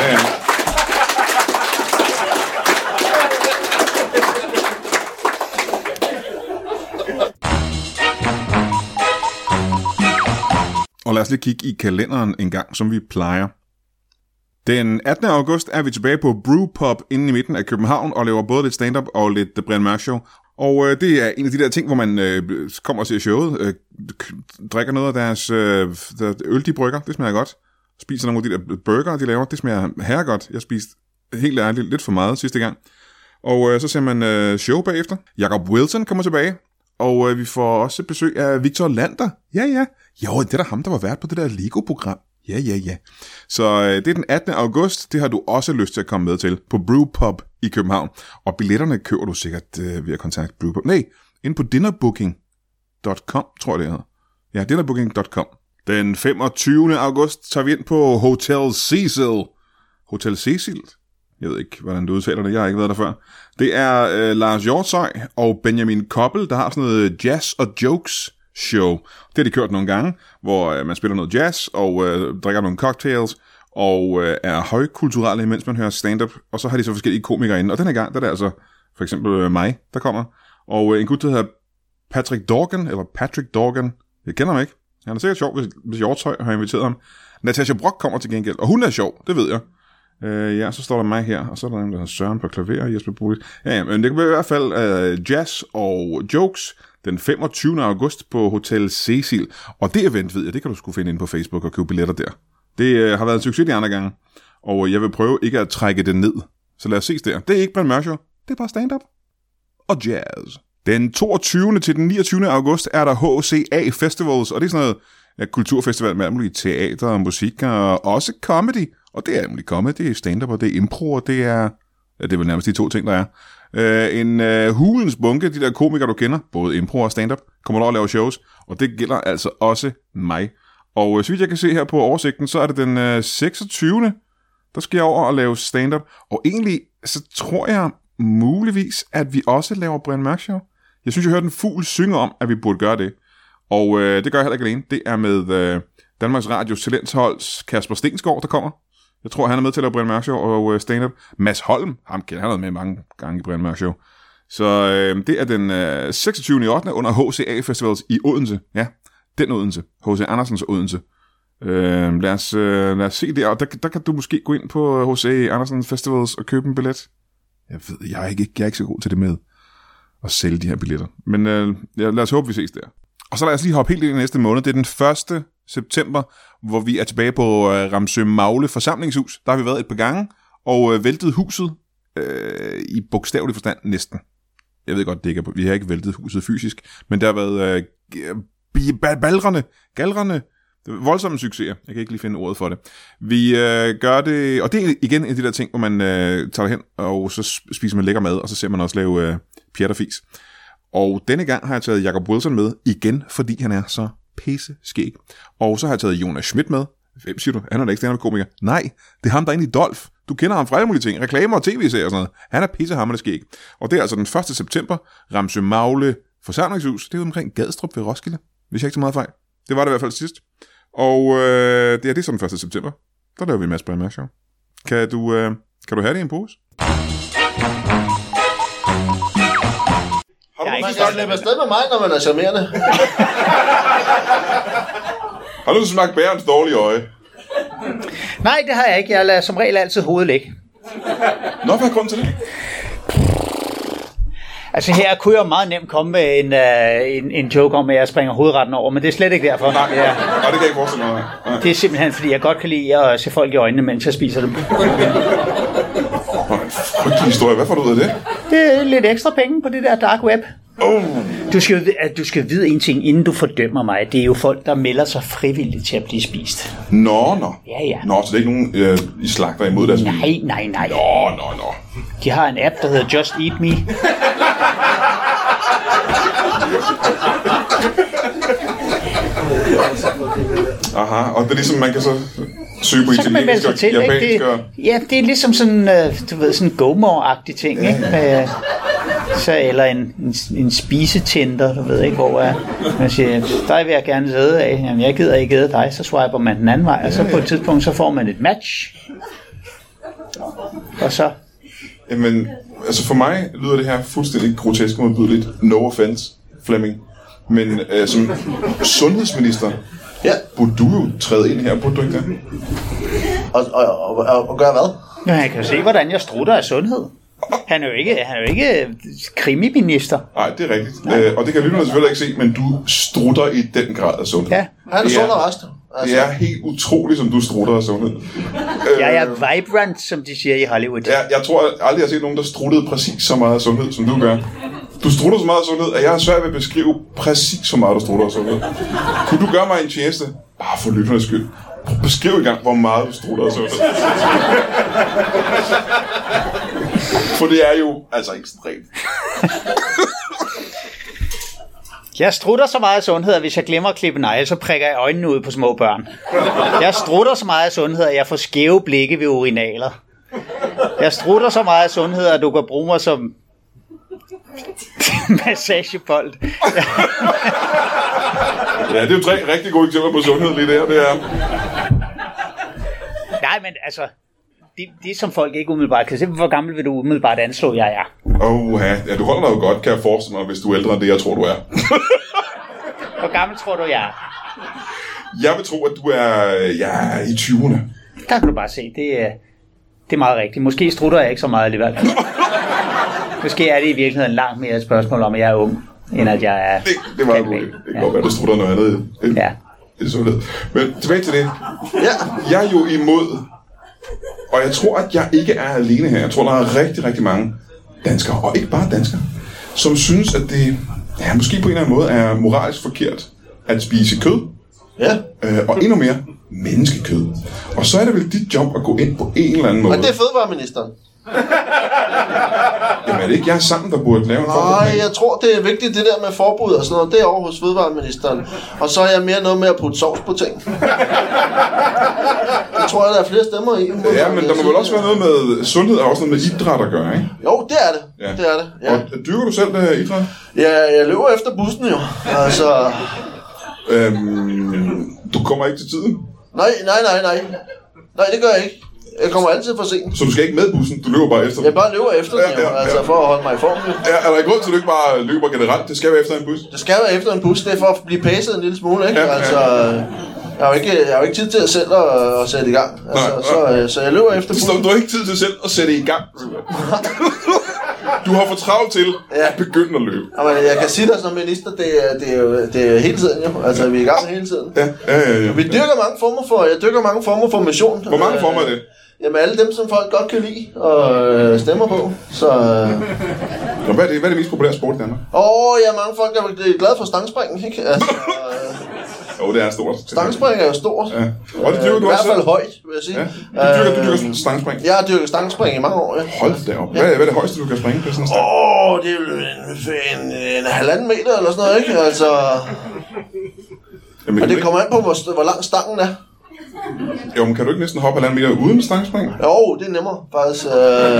S5: Ja, ja.
S2: Og lad os lige kigge i kalenderen en gang, som vi plejer. Den 18. august er vi tilbage på Brewpub inde i midten af København og laver både lidt stand-up og lidt The Brian Mørk Show. Og øh, det er en af de der ting, hvor man øh, kommer og ser showet, øh, k- drikker noget af deres, øh, deres øl, de brygger, det smager godt. Spiser nogle af de der burger, de laver, det smager herregodt. Jeg spiste helt ærligt lidt for meget sidste gang. Og øh, så ser man øh, show bagefter. Jakob Wilson kommer tilbage. Og øh, vi får også besøg af Victor Lander. Ja, ja. Jo, det er da ham, der var vært på det der Lego-program. Ja, ja, ja. Så øh, det er den 18. august. Det har du også lyst til at komme med til på Brewpub i København. Og billetterne køber du sikkert øh, ved at kontakte Brewpub. Nej, inde på dinnerbooking.com, tror jeg det hedder. Ja, dinnerbooking.com. Den 25. august tager vi ind på Hotel Cecil. Hotel Cecil? Jeg ved ikke, hvordan du udtaler det. Jeg har ikke været der før. Det er øh, Lars Hjortøj og Benjamin Koppel, der har sådan noget øh, jazz og jokes show. Det har de kørt nogle gange, hvor øh, man spiller noget jazz og øh, drikker nogle cocktails og øh, er højkulturelle, mens man hører stand-up. Og så har de så forskellige komikere inde. Og den her gang, der er det altså for eksempel øh, mig, der kommer. Og øh, en gut, der hedder Patrick Dorgan, eller Patrick Dorgan. Jeg kender ham ikke. Han er sikkert sjov, hvis, hvis Hjortøj har inviteret ham. Natasha Brock kommer til gengæld, og hun er sjov, det ved jeg. Øh, ja, så står der mig her, og så er der en, der hedder Søren på klaver, og Jesper Bolig. Ja, ja, men det kan være i hvert fald øh, jazz og jokes den 25. august på Hotel Cecil. Og det event, ved jeg, det kan du skulle finde ind på Facebook og købe billetter der. Det øh, har været en succes de andre gange, og jeg vil prøve ikke at trække det ned. Så lad os ses der. Det er ikke Brian Mørk Show, det er bare stand-up og jazz. Den 22. til den 29. august er der HCA Festivals, og det er sådan noget ja, kulturfestival med alt muligt teater og musik, og også comedy. Og det er alt muligt comedy, det er stand-up, og det er impro, og det er... Ja, det er vel nærmest de to ting, der er. Øh, en øh, hulens bunke, de der komikere, du kender, både impro og stand-up, kommer over og laver shows, og det gælder altså også mig. Og øh, så vidt jeg kan se her på oversigten, så er det den øh, 26. Der skal jeg over og lave stand-up. Og egentlig, så tror jeg muligvis, at vi også laver Brian Mørk Show. Jeg synes, jeg hørte en fugl synge om, at vi burde gøre det. Og øh, det gør jeg heller ikke alene. Det er med øh, Danmarks Radios talentholds Kasper Stensgaard, der kommer. Jeg tror, han er med til at lave Brian Mørk Show og øh, stand-up. Mads Holm, ham kender han har været med mange gange i Brian Mørk Show. Så øh, det er den øh, 26. 8. under HCA Festivals i Odense. Ja, den Odense. H.C. Andersens Odense. Øh, lad, os, øh, lad os se det, og der, der kan du måske gå ind på H.C. Andersen Festivals og købe en billet. Jeg ved, jeg er ikke, jeg er ikke så god til det med at sælge de her billetter. Men øh, ja, lad os håbe, vi ses der. Og så lad os lige hoppe helt ind i næste måned. Det er den 1. september, hvor vi er tilbage på øh, Ramsø Magle forsamlingshus. Der har vi været et par gange og øh, væltet huset øh, i bogstavelig forstand næsten. Jeg ved godt, det ikke er, vi har ikke væltet huset fysisk, men der har været øh, g- ba- balrende, galrende, voldsomme succeser. Jeg kan ikke lige finde ordet for det. Vi øh, gør det, og det er igen en af de der ting, hvor man øh, tager hen, og så spiser man lækker mad, og så ser man også lave øh, pjat og fis. Og denne gang har jeg taget Jacob Wilson med, igen fordi han er så pisse skæg. Og så har jeg taget Jonas Schmidt med. Hvem siger du? Han er da ikke stand komiker. Nej, det er ham, der er inde i Dolf. Du kender ham fra alle mulige ting. Reklamer og tv-serier og sådan noget. Han er pissehammerende skæg. Og det er altså den 1. september. Ramsø Magle forsamlingshus. Det er ude omkring Gadstrup ved Roskilde. Hvis jeg ikke tager meget fejl. Det var det i hvert fald sidst. Og øh, det er det er så den 1. september. Der laver vi en masse Brian Mørk Show. Kan du, øh, kan du have det i en pose?
S5: Har du,
S3: Jeg
S5: lyst
S3: er
S4: Man
S5: til
S4: kan
S5: at-
S4: slippe afsted med mig, når man er charmerende.
S5: har du smagt bærens dårlige øje?
S3: Nej, det har jeg ikke. Jeg lader som regel altid hovedet ligge.
S5: Nå, hvad er grunden til det?
S3: Altså her kunne jeg meget nemt komme med en, uh, en, en joke om, at jeg springer hovedretten over, men det er slet ikke derfor.
S5: Nej,
S3: Ja.
S5: nej, det kan jeg ikke forestille mig. Nej.
S3: Det er simpelthen, fordi jeg godt kan lide at øh, se folk i øjnene, mens jeg spiser dem.
S5: Åh, en frygtelig historie. Hvad får du ud af det?
S3: Det er lidt ekstra penge på det der dark web.
S5: Oh.
S3: Du skal, jo, at du skal vide en ting, inden du fordømmer mig. Det er jo folk, der melder sig frivilligt til at blive spist.
S5: Nå, nå.
S3: Ja, ja.
S5: Nå, så det er ikke nogen, øh, I slagter imod deres vilje?
S3: Nej, nej, nej.
S5: Nå, nå, nå.
S3: De har en app, der hedder Just Eat Me.
S5: Aha, og det er ligesom, man kan så søge på
S3: Så kan man melde
S5: italiensk
S3: sig
S5: og
S3: til,
S5: japansk
S3: ikke?
S5: og...
S3: Det, ja, det er ligesom sådan, øh, du ved, sådan gomor agtig ting, ikke? Med, så, eller en, en, en spisetænder, du ved ikke, hvor er, man siger, dig vil jeg gerne æde af, jamen jeg gider ikke æde dig, så swiper man den anden vej, og så på et tidspunkt, så får man et match, og så,
S2: Jamen, altså for mig lyder det her fuldstændig grotesk modbydeligt. No offense, Flemming. Men øh, som sundhedsminister,
S4: Ja,
S2: burde du jo træde ind her, burde du ikke det?
S4: og, og, og, og, og gøre hvad?
S3: ja, han kan jo se, hvordan jeg strutter af sundhed. Han er jo ikke, han er jo ikke øh, krimiminister.
S2: Nej, det er rigtigt. Øh, og det kan lytterne selvfølgelig ikke se, men du strutter i den grad af sundhed.
S3: Ja.
S4: Han
S2: Ja.
S4: er sund og rask.
S2: Det
S4: Altså,
S2: er helt utroligt, som du strutter af sundhed. Øh,
S3: Jeg er vibrant, som de siger i Hollywood.
S2: Ja, jeg tror jeg aldrig, jeg har set nogen, der struttede præcis så meget af sundhed, som du gør. Du strutter så meget af sundhed, at jeg har svært ved at beskrive præcis så meget, du strutter af sundhed. Kunne du gøre mig en tjeneste? Bare for lytternes skyld. Prøv at Beskriv i gang, hvor meget du strutter af sundhed. For det er jo altså ekstremt.
S3: Jeg strutter så meget af sundhed, at hvis jeg glemmer at klippe negle, så prikker jeg øjnene ud på små børn. Jeg strutter så meget af sundhed, at jeg får skæve blikke ved urinaler. Jeg strutter så meget af sundhed, at du kan bruge mig som [LAUGHS] massagebold.
S2: Ja, det er jo tre rigtig gode eksempler på sundhed lige der. Det er.
S3: Nej, men altså, det, det som folk ikke umiddelbart kan se, hvor gammel vil du umiddelbart anslå, jeg er?
S2: Oh, ja, du holder dig jo godt, kan jeg forestille mig, hvis du er ældre end det, jeg tror, du er.
S3: Hvor gammel tror du, jeg er?
S2: Jeg vil tro, at du er ja, i 20'erne.
S3: Der kan du bare se, det, er- det er meget rigtigt. Måske strutter jeg ikke så meget alligevel. Måske er det i virkeligheden langt mere et spørgsmål om, at jeg er ung, end at jeg er...
S2: Det, det var
S3: Kan
S2: muligt.
S3: være.
S2: Det kan godt være, du strutter noget andet end,
S3: Ja.
S2: end sundhed. Men tilbage til det.
S4: ja.
S2: Jeg er jo imod, og jeg tror, at jeg ikke er alene her. Jeg tror, der er rigtig, rigtig mange danskere, og ikke bare danskere, som synes, at det ja, måske på en eller anden måde er moralsk forkert at spise kød,
S4: ja.
S2: øh, og endnu mere menneskekød. Og så er det vel dit job at gå ind på en eller anden måde.
S4: Men det er fødevareministeren.
S2: Jamen, er det ikke jer sammen, der burde lave en
S4: Nej,
S2: forberedelse?
S4: jeg tror, det er vigtigt, det der med forbud og sådan noget. Det er over hos fødevareministeren. Og så er jeg mere noget med at putte sovs på ting. Det tror jeg, der er flere stemmer i.
S2: Ja, men der må vel også være noget med sundhed og også noget med idræt at gøre, ikke?
S4: Jo, det er det. Ja. Det er det. Ja.
S2: Og dyrker du selv øh, idræt?
S4: ja, jeg løber efter bussen jo. Altså,
S2: Øhm, du kommer ikke til tiden,
S4: nej, nej, nej, nej. Nej, det gør jeg ikke. Jeg kommer altid for sent.
S2: så du skal ikke med bussen, du løber bare efter
S4: Jeg bare løber efter den
S2: Ja,
S4: jo,
S2: ja, ja.
S4: altså for at holde mig i form. jo.
S2: Er, er der ikke grund til, at du ikke bare løber generelt? Det skal være efter en bus.
S4: Det skal være efter en bus, det er for at blive pacet en lille smule, ikke?
S2: Ja, ja.
S4: Altså, jeg har jo ikke, jeg har jo ikke tid til at selv at, at sætte i gang. Altså,
S2: Nej,
S4: så, øh, så jeg løber efter
S2: Så
S4: bussen.
S2: du har ikke tid til selv at sætte i gang. Du har for travlt til
S4: Ja.
S2: at begynde at løbe.
S4: Jamen, jeg kan sige dig som minister, det er, det er, jo- det er hele tiden jo. Altså, vi er i gang hele tiden.
S2: Ja, ja, ja. ja.
S4: Vi dyrker mange former for, jeg dyrker mange former for mission.
S2: Hvor mange former er
S4: Øh,
S2: det?
S4: Jamen, alle dem, som folk godt kan lide og øh, stemmer på. Så, øh,
S2: Nå, hvad, er det, hvad er det mest populære sport i Danmark?
S4: åh, ja, mange folk er vel glade for stangspring, ikke?
S2: [LAUGHS]
S4: Altså, øh,
S2: Jo, det er stort.
S4: stangspring er jo stort.
S2: Ja. Og det dyrker
S4: Øh,
S2: du
S4: I
S2: også
S4: hvert fald
S2: selv?
S4: højt, vil jeg sige.
S2: Ja. Du dyrker, du dyrker
S4: Øh,
S2: stangspring.
S4: Jeg har dyrket stangspring i mange år, ja.
S2: Hold da op. Hvad, er- hvad er det højeste, du kan springe på sådan en stang?
S4: Åh, oh, det er vel en, en, en halvanden meter eller sådan noget, ikke? Altså,
S2: Jamen, kan
S4: og
S2: du
S4: det kommer an på, hvor, hvor lang stangen er.
S2: ikke, jo, men kan du ikke næsten hoppe halvanden meter uden stangspring?
S4: Jo, det er nemmere, faktisk. Øh,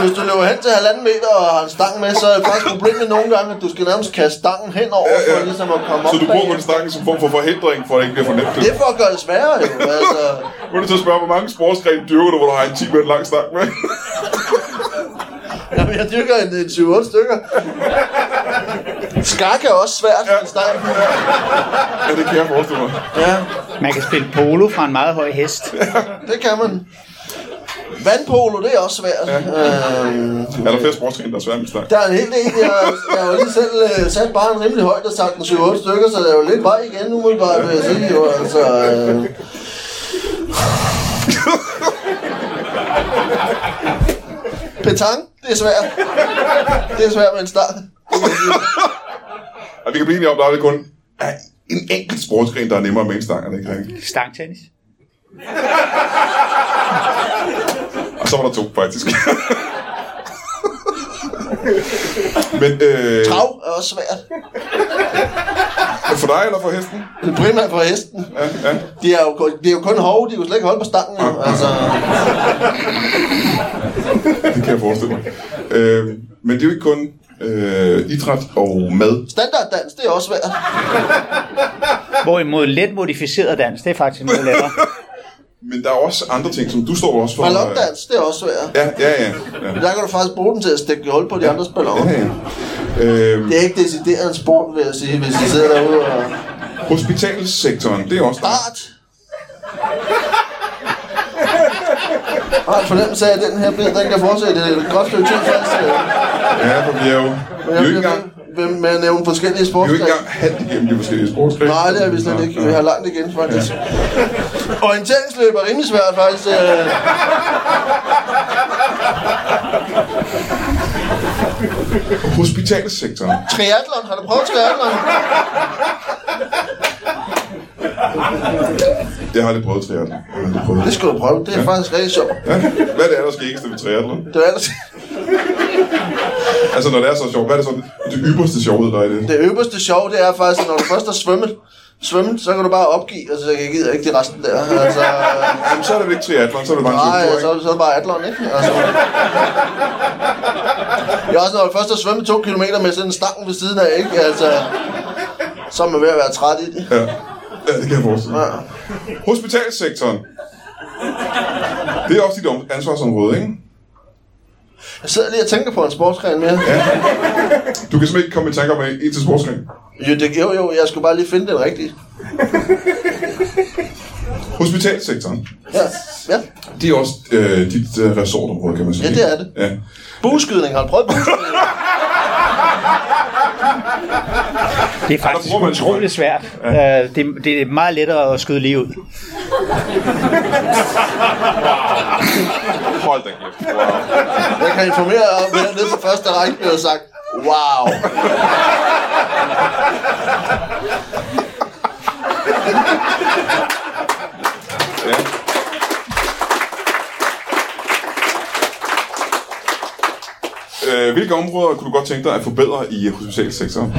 S4: hvis du løber hen til halvanden meter og har en stang med, så er det faktisk problemet nogle gange, at du skal nærmest kaste stangen hen over,
S2: Ja, ja.
S4: for ligesom at komme
S2: Så
S4: op
S2: du bruger kun
S4: bagefter.
S2: stangen som form for forhindring, for at det ikke bliver for nemt.
S4: Det er for at gøre det sværere, jo. Altså,
S2: Nu er du til at spørge, hvor mange sportsgrene dyrker du, hvor du har en 10 meter lang stang med?
S4: jamen, jeg dyrker en, en 7-8 stykker. Skak er også svært med en stang.
S2: Ja, det kan jeg forestille mig.
S4: Ja,
S3: Man kan spille polo fra en meget høj hest.
S4: det kan man. Vandpolo, det er også svært. Øh,
S2: Er der flere sportsgrene, der er svære med stang?
S4: Der er en hel del, jeg, jeg har jo lige selv øh, sat bare en rimelig højt og sagt en 7-8 stykker, så der er jo lidt vej igen umiddelbart, vil jeg sige jo, altså... Øh. Petang, det er svært. Det er svært med en start.
S2: Og vi kan blive enige om, der er det kun er en enkelt sportsgren, der er nemmere med en stang, er det ikke rigtigt?
S3: Stangtennis.
S2: Og så var der to, faktisk. [LAUGHS] Men øh,
S4: Trav er også svært.
S2: for dig eller for hesten?
S4: Det er primært for hesten.
S2: Ja, ja.
S4: De er jo, kun- de er jo kun hove, de kan jo slet ikke holde på stangen. jo, Altså,
S2: Det kan jeg forestille mig. Øh, Men det er jo ikke kun øh, idræt og mad.
S4: Standarddans, det er også svært.
S3: Hvorimod let modificeret dans, det er faktisk noget lettere.
S2: Men der er også andre ting, som du står også for. øh,
S4: Ballondans, det er også svært.
S2: Ja, ja, ja. ja.
S4: Der kan du faktisk bruge den til at stikke hul på de andres balloner.
S2: ja, ja. Øh,
S4: Det er ikke decideret en sport, vil jeg sige, hvis I sidder derude og...
S2: hospitalssektoren, det er også der.
S4: Art! Jeg har en fornemmelse af, at den her bliver, den kan fortsætte et godt stykke tid først.
S2: Ja, for vi er jo, vi er jo ikke engang,
S4: Hvem med at nævne forskellige
S2: vi er jo ikke
S4: sportsgrene?
S2: engang halvt igennem de forskellige sportsgrene.
S4: Nej, det er vi slet
S2: Nej,
S4: ikke.
S2: nej.
S4: Vi har langt igen, faktisk. Orienteringsløb er rimelig svært, faktisk. øh.
S2: Hospitalssektoren.
S4: Triathlon, har du prøvet triathlon?
S2: Jeg har aldrig prøvet triathlon. Jeg har aldrig prøvet
S4: Det
S2: det.
S4: skal du prøve. Det er faktisk rigtig sjovt.
S2: Hvad er det allerskæggeste ved triathlon?
S4: Det er ellers
S2: Altså, når det er så sjovt, hvad er det så det ypperste sjovhed, der er i det?
S4: det øverste sjov, det er faktisk, at når du først har svømmet, svømmet, så kan du bare opgive, og så jeg gider ikke det resten der. Altså, øh,
S2: Jamen, så er det vel ikke triathlon, så er det bare en
S4: nej,
S2: cykeltur,
S4: så,
S2: ikke?
S4: så er det bare atlon, ikke? Altså, jeg også, når du først har svømmet to kilometer med sådan en stang ved siden af, ikke? Altså, så er man ved at være træt i det.
S2: Ja. ja, det kan jeg forestille mig. Hospitalssektoren. Det er også dit om- ansvarsområde, ikke?
S4: Jeg sidder lige og tænker på en sportsgren mere.
S2: Du kan simpelthen ikke komme i tanke om en en til sportsgren.
S4: Jo, det, jo, jo, jeg skulle bare lige finde den rigtige.
S2: Hospitalssektoren.
S4: Ja, ja.
S2: Det er også øh, dit øh, resortområde, kan man sige.
S4: Ja, det er det.
S2: Ja.
S4: Bueskydning, har du prøvet bueskydning?
S3: Det er faktisk
S2: bruger man-
S3: utroligt svært. Ja. Øh, det, det er meget lettere at skyde lige ud.
S2: Hold da kæft. Wow.
S4: Jeg kan informere jer om, at nede på første række blev sagt, wow.
S2: Ja. Øh, hvilke områder kunne du godt tænke dig at forbedre i hospitalsektoren?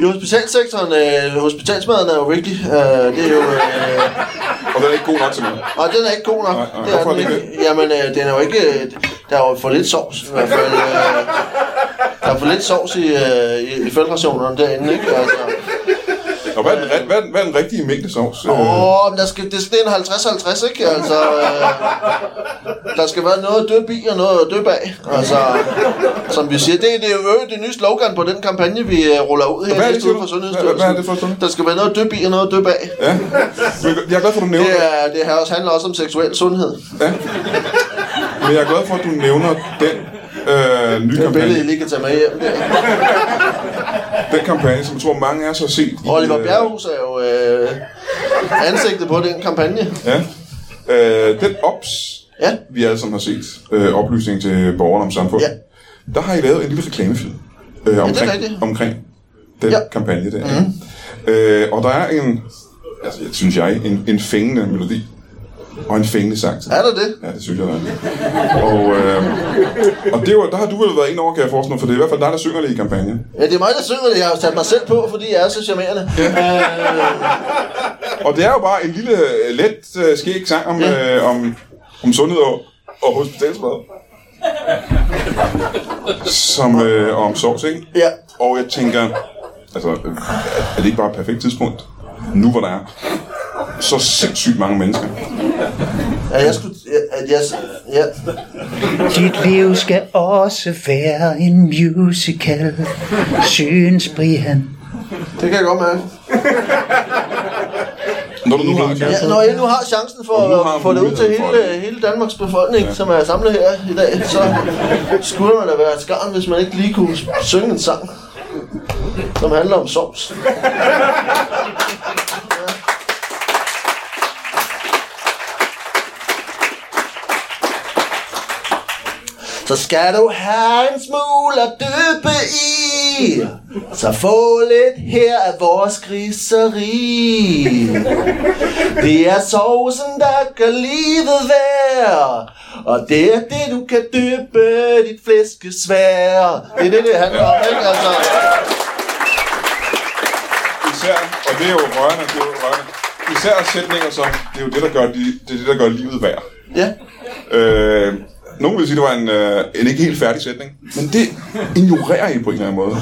S4: I hospitalsektoren, øh, hospitalsmaden er jo vigtig. Øh, det er jo... Øh,
S2: Og den er ikke god nok til mig.
S4: og den er ikke god
S2: Nej,
S4: nok.
S2: nej,
S4: det er
S2: hvorfor
S4: den
S2: er den
S4: ikke. Jamen, øh, den er jo ikke... øh, Der er jo for lidt sovs, i hvert fald. Øh, der er for lidt sovs i, øh, i, i feltrationerne derinde, ikke? Altså,
S2: Og hvad er den, re- hvad er den, hvad er den rigtige mængde sovs? Øh,
S4: åh, men der skal, det, det er en 50-50, ikke? Altså, øh, der skal være noget at døbe i og noget at døbe af. Altså, som vi siger, det, det er jo øvrigt det nye slogan på den kampagne, vi øh, ruller ud her.
S2: Hvad er det,
S4: næste
S2: siger
S4: uge
S2: du?
S4: fra
S2: Hvad- hvad er det for Sundhedsstyrelsen?
S4: Der skal være noget at døbe i og noget at døbe af.
S2: Ja. Men Jeg er glad for, at du nævner
S4: Det,
S2: det.
S4: er, det her også handler også om seksuel sundhed.
S2: Ja. Men jeg er glad for, at du nævner den øh, nye
S4: Det er et billede, I
S2: kampagne.
S4: lige kan tage med hjem. Der.
S2: Den kampagne, som jeg tror, mange af os har set. i,
S4: Oliver
S2: øh,
S4: Bjerghus er jo øh, ansigtet på den kampagne.
S2: Ja. Øh, den OPS,
S4: Ja.
S2: vi alle sammen har set, øh, oplysning til borgerne om samfundet,
S4: Ja.
S2: der har I lavet en lille reklamefilm øh, omkring,
S4: rigtigt.
S2: omkring den
S4: Ja. Mhm.
S2: ja. kampagne der. Mm. Øh, og der er en, altså, jeg synes jeg, en, en fængende melodi og en fængende sang til
S4: Er der det?
S2: Ja, det synes jeg, der er. Og, øh, og det var, der har du vel været en over, kan jeg forestille mig, for det er i hvert fald dig, der synger det i kampagnen.
S4: Ja, det er mig, der synger det. Jeg har sat mig selv på, fordi jeg er så charmerende.
S2: Og det er jo bare en lille, øh, let, øh, skæg sang om,
S4: Ja.
S2: øh, om, om sundhed og, og hospitalsmad. Som, øh, og om sovs, ikke?
S4: Ja.
S2: Og jeg tænker, altså, øh, er det ikke bare et perfekt tidspunkt? Nu hvor der er så sindssygt mange mennesker.
S4: At jeg skulle... ja, At jeg, ja.
S3: Dit liv skal også være en musical, synes Brian.
S4: Det kan jeg godt mærke.
S2: Når du nu har ja.
S4: Ja, når jeg nu har chancen for
S2: Og nu har
S4: at få det ud til
S2: muligheden for
S4: hele,
S2: det.
S4: hele Danmarks befolkning, ja. som er samlet her i dag, så skulle man da være et skarn, hvis man ikke lige kunne synge en sang, som handler om sovs. Så skal du have en smule at dyppe i Så få lidt her af vores griseri Det er sovsen, der gør livet værd Og det er det, du kan dyppe dit flæskesvær Det er det, det handler om, ikke? Altså,
S2: især, og det er jo rørende, det er jo rørende. Især sætninger som, det er jo det, der gør, de, det, er det, der gør livet værd.
S4: ja.
S2: Øh, Nogen vil sige, det var en, øh, en ikke helt færdig sætning. Men det ignorerer I på en eller anden måde.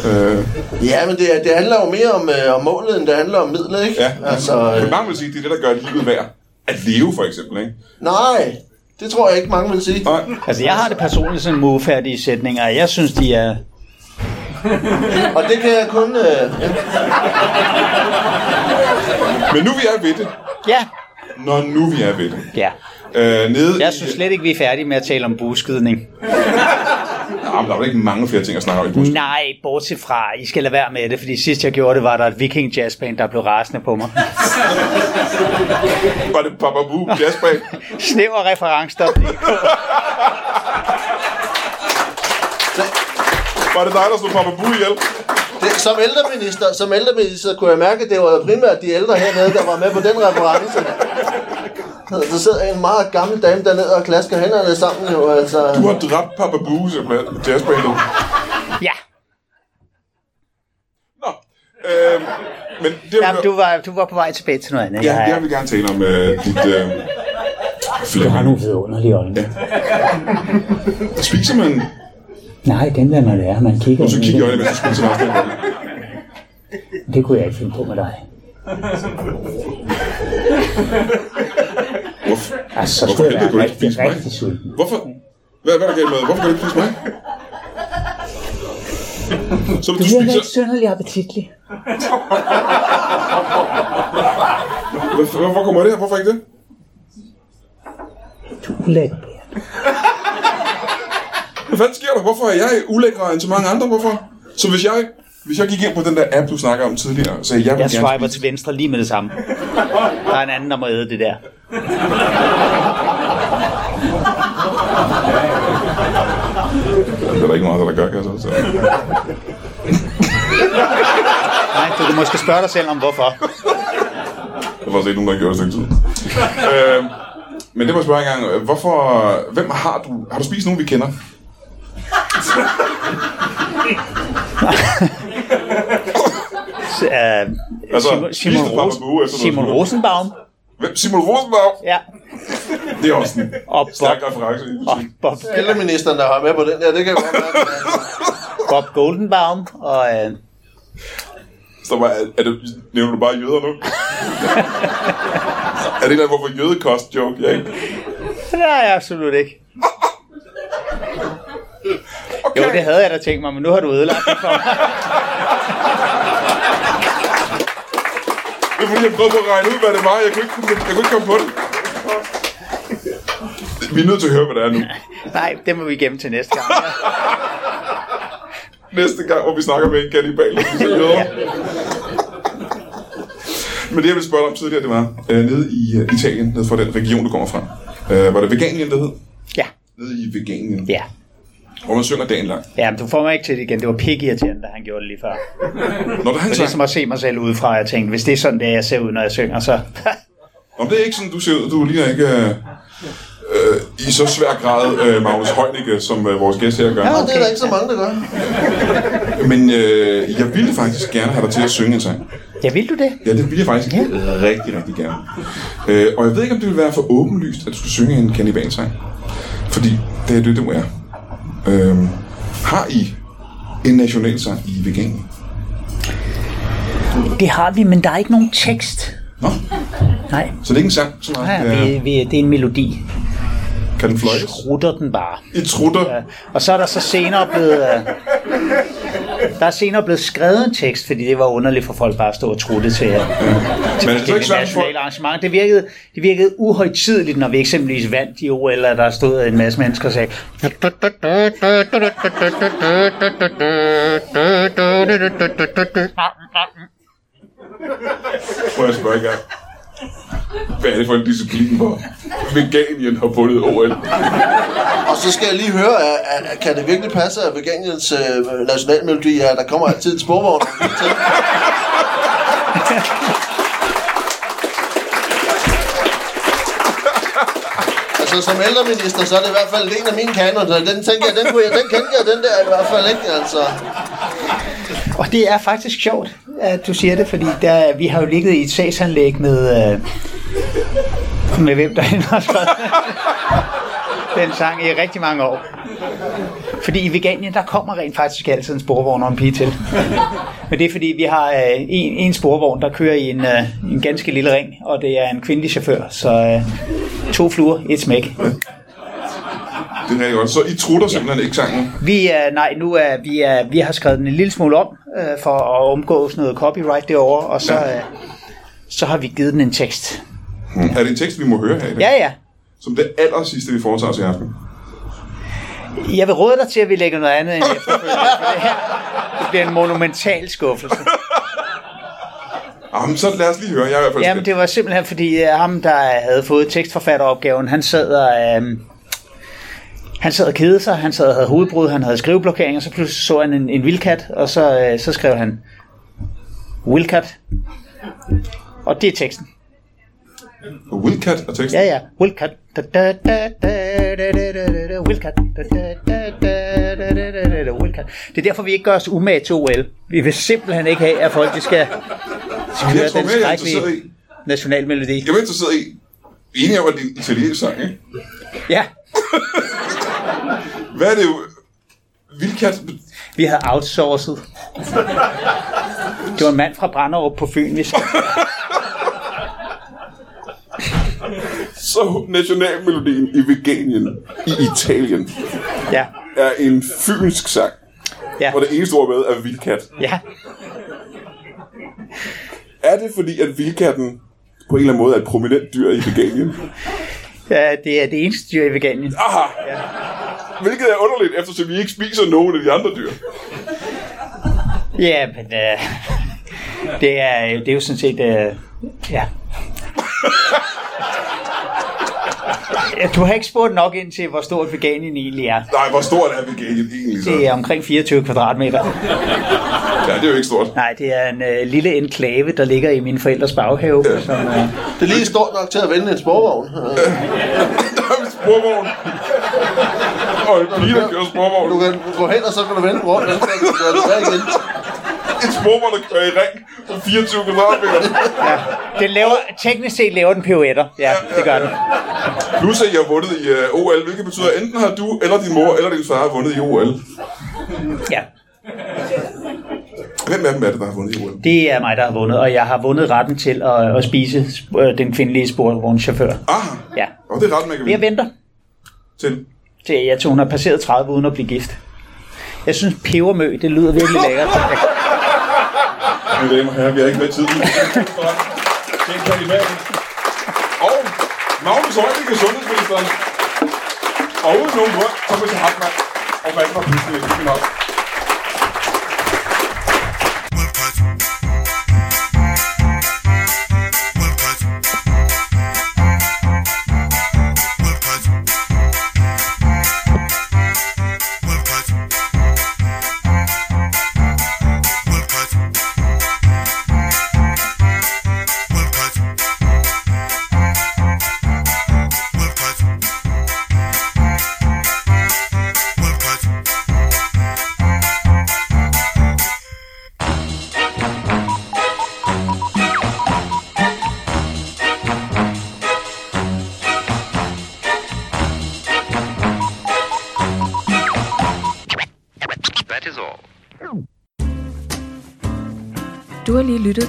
S2: Øh,
S4: Ja, men det, det handler jo mere om, øh, om målet, end det handler om midlet, ikke?
S2: ja,
S4: Altså, øh,
S2: Men mange vil sige, det er det, der gør livet værd. At leve, for eksempel, ikke?
S4: nej, det tror jeg ikke, mange vil sige.
S2: Nej.
S3: Altså, jeg har det personligt sådan med ufærdige sætninger, og jeg synes, de er...
S4: Og det kan jeg kun... Øh, ja.
S2: Men nu vi er ved det.
S3: Ja,
S2: Når nu vi er ved det.
S3: ja.
S2: Øh, nede
S3: Jeg
S2: i-
S3: synes slet ikke, vi er færdige med at tale om buskydning.
S2: Ah, men der er vel ikke mange flere ting at snakke om i bussen.
S3: Nej, bortset fra, I skal lade være med det, fordi sidst jeg gjorde det, var der et viking jazzband, der blev rasende på mig.
S2: Var det Bababu Jazzbag?
S3: Snæver reference, der blev.
S2: Var det dig, der stod Bababu ihjel?
S4: Det, som ældreminister, som ældreminister kunne jeg mærke, at det var primært de ældre hernede, der var med på den reference. Der sidder en meget gammel dame dernede og klasker hænderne sammen jo, altså.
S2: Du har dræbt Bababu, simpelthen. Jazzbandet.
S3: Ja,
S2: Nå. Øh, men det, har vi
S3: Jamen,
S2: hørt-
S3: du var, du var på vej tilbage til noget andet.
S2: ja, det
S3: Jeg,
S2: har vi gerne tale om øh, dit... Øh,
S3: du har
S2: flæk.
S3: nogle vidunderlige øjne. Ja.
S2: Spiser man...
S3: Nej, den lader man være. Man kigger
S2: Så
S3: ind i
S2: kigger jeg i øjnene,
S3: det.
S2: mens du spiser resten af dagen.
S3: det kunne jeg ikke finde på med dig.
S2: Hvorfor?
S3: Altså, så
S2: Hvorfor
S3: skulle jeg
S2: helvede kunne
S3: være
S2: du ikke
S3: rigtig,
S2: spise mig?
S3: rigtig sulten.
S2: Hvorfor? Hvad, hvad er der galt med? Hvorfor kan du ikke spise mig? Så hvis du
S3: Du virker
S2: spiser...
S3: ikke synderlig appetitlig.
S2: Hvor- Hvorfor kommer det her? Hvorfor ikke det?
S3: Du er ulækker, Bert.
S2: Hvad fanden sker der? Hvorfor er jeg ulækre end så mange andre? Hvorfor? Så hvis jeg, hvis jeg gik ind på den der app, du snakker om tidligere, og sagde, jeg vil
S3: Jeg
S2: gerne
S3: swiper til venstre lige med det samme. Der er en anden, der må æde det der.
S2: spise- Det er der ikke meget, der gør, kan jeg så. så.
S3: Nej, du kan måske spørge dig selv om hvorfor.
S2: Der var set nogen, der gjorde det et stykke tid. øh, men det må jeg spørge en gang. Hvorfor, hvem har du, har du spist nogen, vi kender?
S3: Øh,
S2: Altså,
S3: Simon, Simon,
S2: Christopher
S3: Ros-
S2: Bauer efter noget
S3: Simon
S2: smule.
S3: Rosenbaum.
S2: Hvem? Simon Rosenbaum?
S3: Ja.
S2: Det er også en
S3: Og Bob,
S2: stærk reference. i
S3: og
S2: musik.
S3: Bob,
S4: Ældreministeren, der var med på den der, det kan jeg godt mærke. altså. [LAUGHS]
S3: Bob Goldenbaum. Og, øh,
S2: Så var, er, er det, nævner du bare jøder
S3: [LAUGHS]
S2: nu? er det en eller anden, hvorfor jødekost joke? Jeg ikke?
S3: det er jeg absolut ikke.
S2: Okay.
S3: Jo, det havde jeg da tænkt mig, men nu har du ødelagt det for mig.
S2: Det er fordi, jeg prøvede på at regne ud, hvad det var. Jeg kunne ikke, jeg kunne ikke komme på det. Vi er nødt til at høre, hvad det er nu.
S3: Nej, det må vi gemme til næste gang.
S2: Næste gang, hvor vi snakker med en kannibal. som vi sidder over. Men det, jeg ville spørge dig om tidligere, det var øh, nede i øh, Italien, nede fra den region, du kommer fra. Øh, var det Veganien, det hed?
S3: Ja,
S2: Nede i Veganien.
S3: ja.
S2: Hvor man synger dagen lang.
S3: Ja, men du får mig ikke til det igen. Det var pikirriterende, da han gjorde det lige før.
S2: Når der han
S3: Det er ligesom
S2: sang,
S3: at se mig selv udefra, og jeg tænkte, hvis det er sådan, det er, jeg ser ud, når jeg synger, så...
S2: om det er ikke sådan, du ser ud, du ligner ikke... Øh, øh, i så svær grad øh, Magnus Heunicke, som øh, vores gæst her gør.
S4: Og det er der ikke så mange, der gør.
S2: Men øh, jeg ville faktisk gerne have dig til at synge en sang.
S3: Ja, vil du det?
S2: Ja, det ville jeg faktisk ja. rigtig, rigtig gerne. Øh, og jeg ved ikke, om det ville være for åbenlyst, at du skulle synge en kannibalsang. Fordi det er det, du er. Øh, har I en nationalsang i vegan?
S3: Det har vi, men der er ikke nogen tekst.
S2: Nå,
S3: Nej,
S2: så det er ikke en sang, så meget.
S3: ja,
S2: Ja,
S3: vi, vi, det er en melodi.
S2: kan den fløjtes?
S3: Rutter den bare.
S2: I trutter.
S3: Og så er der så senere blevet... øh, Der er senere blevet skrevet en tekst, fordi det var underligt for folk bare at stå og trutte til, øh, til
S2: Men er det så ikke
S3: forskellige
S2: svært for...
S3: nationale arrangementer. Det virkede, det virkede uhøjtidligt, når vi eksempelvis vandt i OL, eller der stod en masse mennesker og sagde,
S2: Prøv at spørge jer. Hvad er det for en disciplin, hvor Veganien har vundet OL?
S4: Og så skal jeg lige høre, at, at, at kan det virkelig passe, at Veganiens øh, nationalmelodi er, at der kommer altid en sporvogn? [LAUGHS] altså, som ældreminister, så er det i hvert fald en af mine kanon, så den tænker jeg, den, kunne jeg, den kendte jeg, den der i hvert fald ikke, altså.
S3: Og det er faktisk sjovt, at du siger det, fordi der, vi har jo ligget i et sagsanlæg med, øh, med hvem der end har skrevet. den sang i rigtig mange år. Fordi i Veganien, der kommer rent faktisk altid en sporvogn og en pige til. Men det er fordi, vi har øh, en, en sporvogn, der kører i en, øh, en ganske lille ring, og det er en kvindelig chauffør. Så øh, to fluer, et smæk.
S2: Det er rigtig godt. Så I trutter simpelthen ikke sangen?
S3: Vi er, nej, nu er, vi, er, vi har skrevet den en lille smule om, øh, for at omgå sådan noget copyright derovre, og så, øh, så har vi givet den en tekst.
S2: Mm. Er det en tekst, vi må høre her i dag?
S3: Ja, ja.
S2: Som det aller sidste, vi foretager os i aften.
S3: Jeg vil råde dig til, at vi lægger noget andet end efterfølgende, for det her det bliver en monumental skuffelse.
S2: Jamen, så lad os lige høre. Jeg er i hvert fald
S3: Jamen,
S2: spændt.
S3: det var simpelthen fordi øh, ham, der havde fået tekstforfatteropgaven, han sad og... Øh, han sad og kedede sig, han sad og havde hovedbrud, han havde skriveblokering, og så pludselig så han en, en vildkat, og så, øh, så skrev han Wildcat. Og det er teksten.
S2: Wildcat og teksten.
S3: Ja, ja. Wildcat. Da, da, da, da, da, da, da, da, da. Wildcat. Da, da, da, da, da, da, da, da, da. Wildcat. Det er derfor, vi ikke gør os umage til OL. Vi vil simpelthen ikke have, at folk de skal, skal
S2: Jeg
S3: høre
S2: tror
S3: den
S2: mere, jeg er interesseret
S3: skrækkelige
S2: i.
S3: nationalmelodi.
S2: Jeg er interesseret i. Vi er enige om, at det er en italiensk sang, ikke?
S3: Ja,
S2: Hvad er det jo? Wildcat...
S3: vi havde outsourcet. Det var en mand fra Branderup på Fyn, vi sagde.
S2: Så nationalmelodien i Veganien i Italien
S3: Ja,
S2: er en fynsk sang,
S3: ja,
S2: hvor det eneste ord med er vildkat.
S3: ja.
S2: Er det fordi, at vildkatten på en eller anden måde er et prominent dyr i Veganien?
S3: Ja, det er det eneste dyr i Veganien.
S2: Aha! Hvilket er underligt, eftersom vi ikke spiser nogen af de andre dyr.
S3: Ja, men øh, det, er, det er jo sådan set... Øh, ja. Ja, Du har ikke spurgt nok ind til, hvor stort veganien egentlig er.
S2: Nej, hvor stort er Veganien egentlig så?
S3: Det er omkring 24 kvadratmeter.
S2: Ja, det er jo ikke stort. [COUGHS]
S3: Nej, det er en øh, lille enklave, der ligger i mine forældres baghave. Som, øh,
S4: Det er lige stort nok til at vende en sporvogn. Øh,
S2: Der er en sporvogn. Og en pige, der kører sporvogn.
S4: Du kan gå hen, og så kan du vende rundt, og så kan du gøre det tilbage igen.
S2: En sporvogn, der kører i ring på 24 kvadratmeter.
S3: den laver, teknisk set laver den pirouetter. Ja, det gør den.
S2: Plus at I har vundet i øh, OL, hvilket betyder, at enten har du, eller din mor, eller din far vundet i OL.
S3: Ja,
S2: Hvem af dem er det, der har vundet i OL?
S3: det er mig, der har vundet, og jeg har vundet retten til at, at spise øh, den kvindelige sporvognschauffør.
S2: Aha.
S3: Ja.
S2: Og det er ret, man kan
S3: Jeg
S2: vinde
S3: venter.
S2: til.
S3: til jeg tog, hun har passeret 30 uden at blive gift. Jeg synes, pebermø, det lyder virkelig lækkert.
S2: Mine damer og herrer, vi har ikke med tiden. Tænk på i dag. Og Magnus Højlige, sundhedsministeren. Og uden nogen grund, Thomas Hartmann. Og hvad var pludselig, det nok.
S6: That is all.
S7: Du har lige lyttet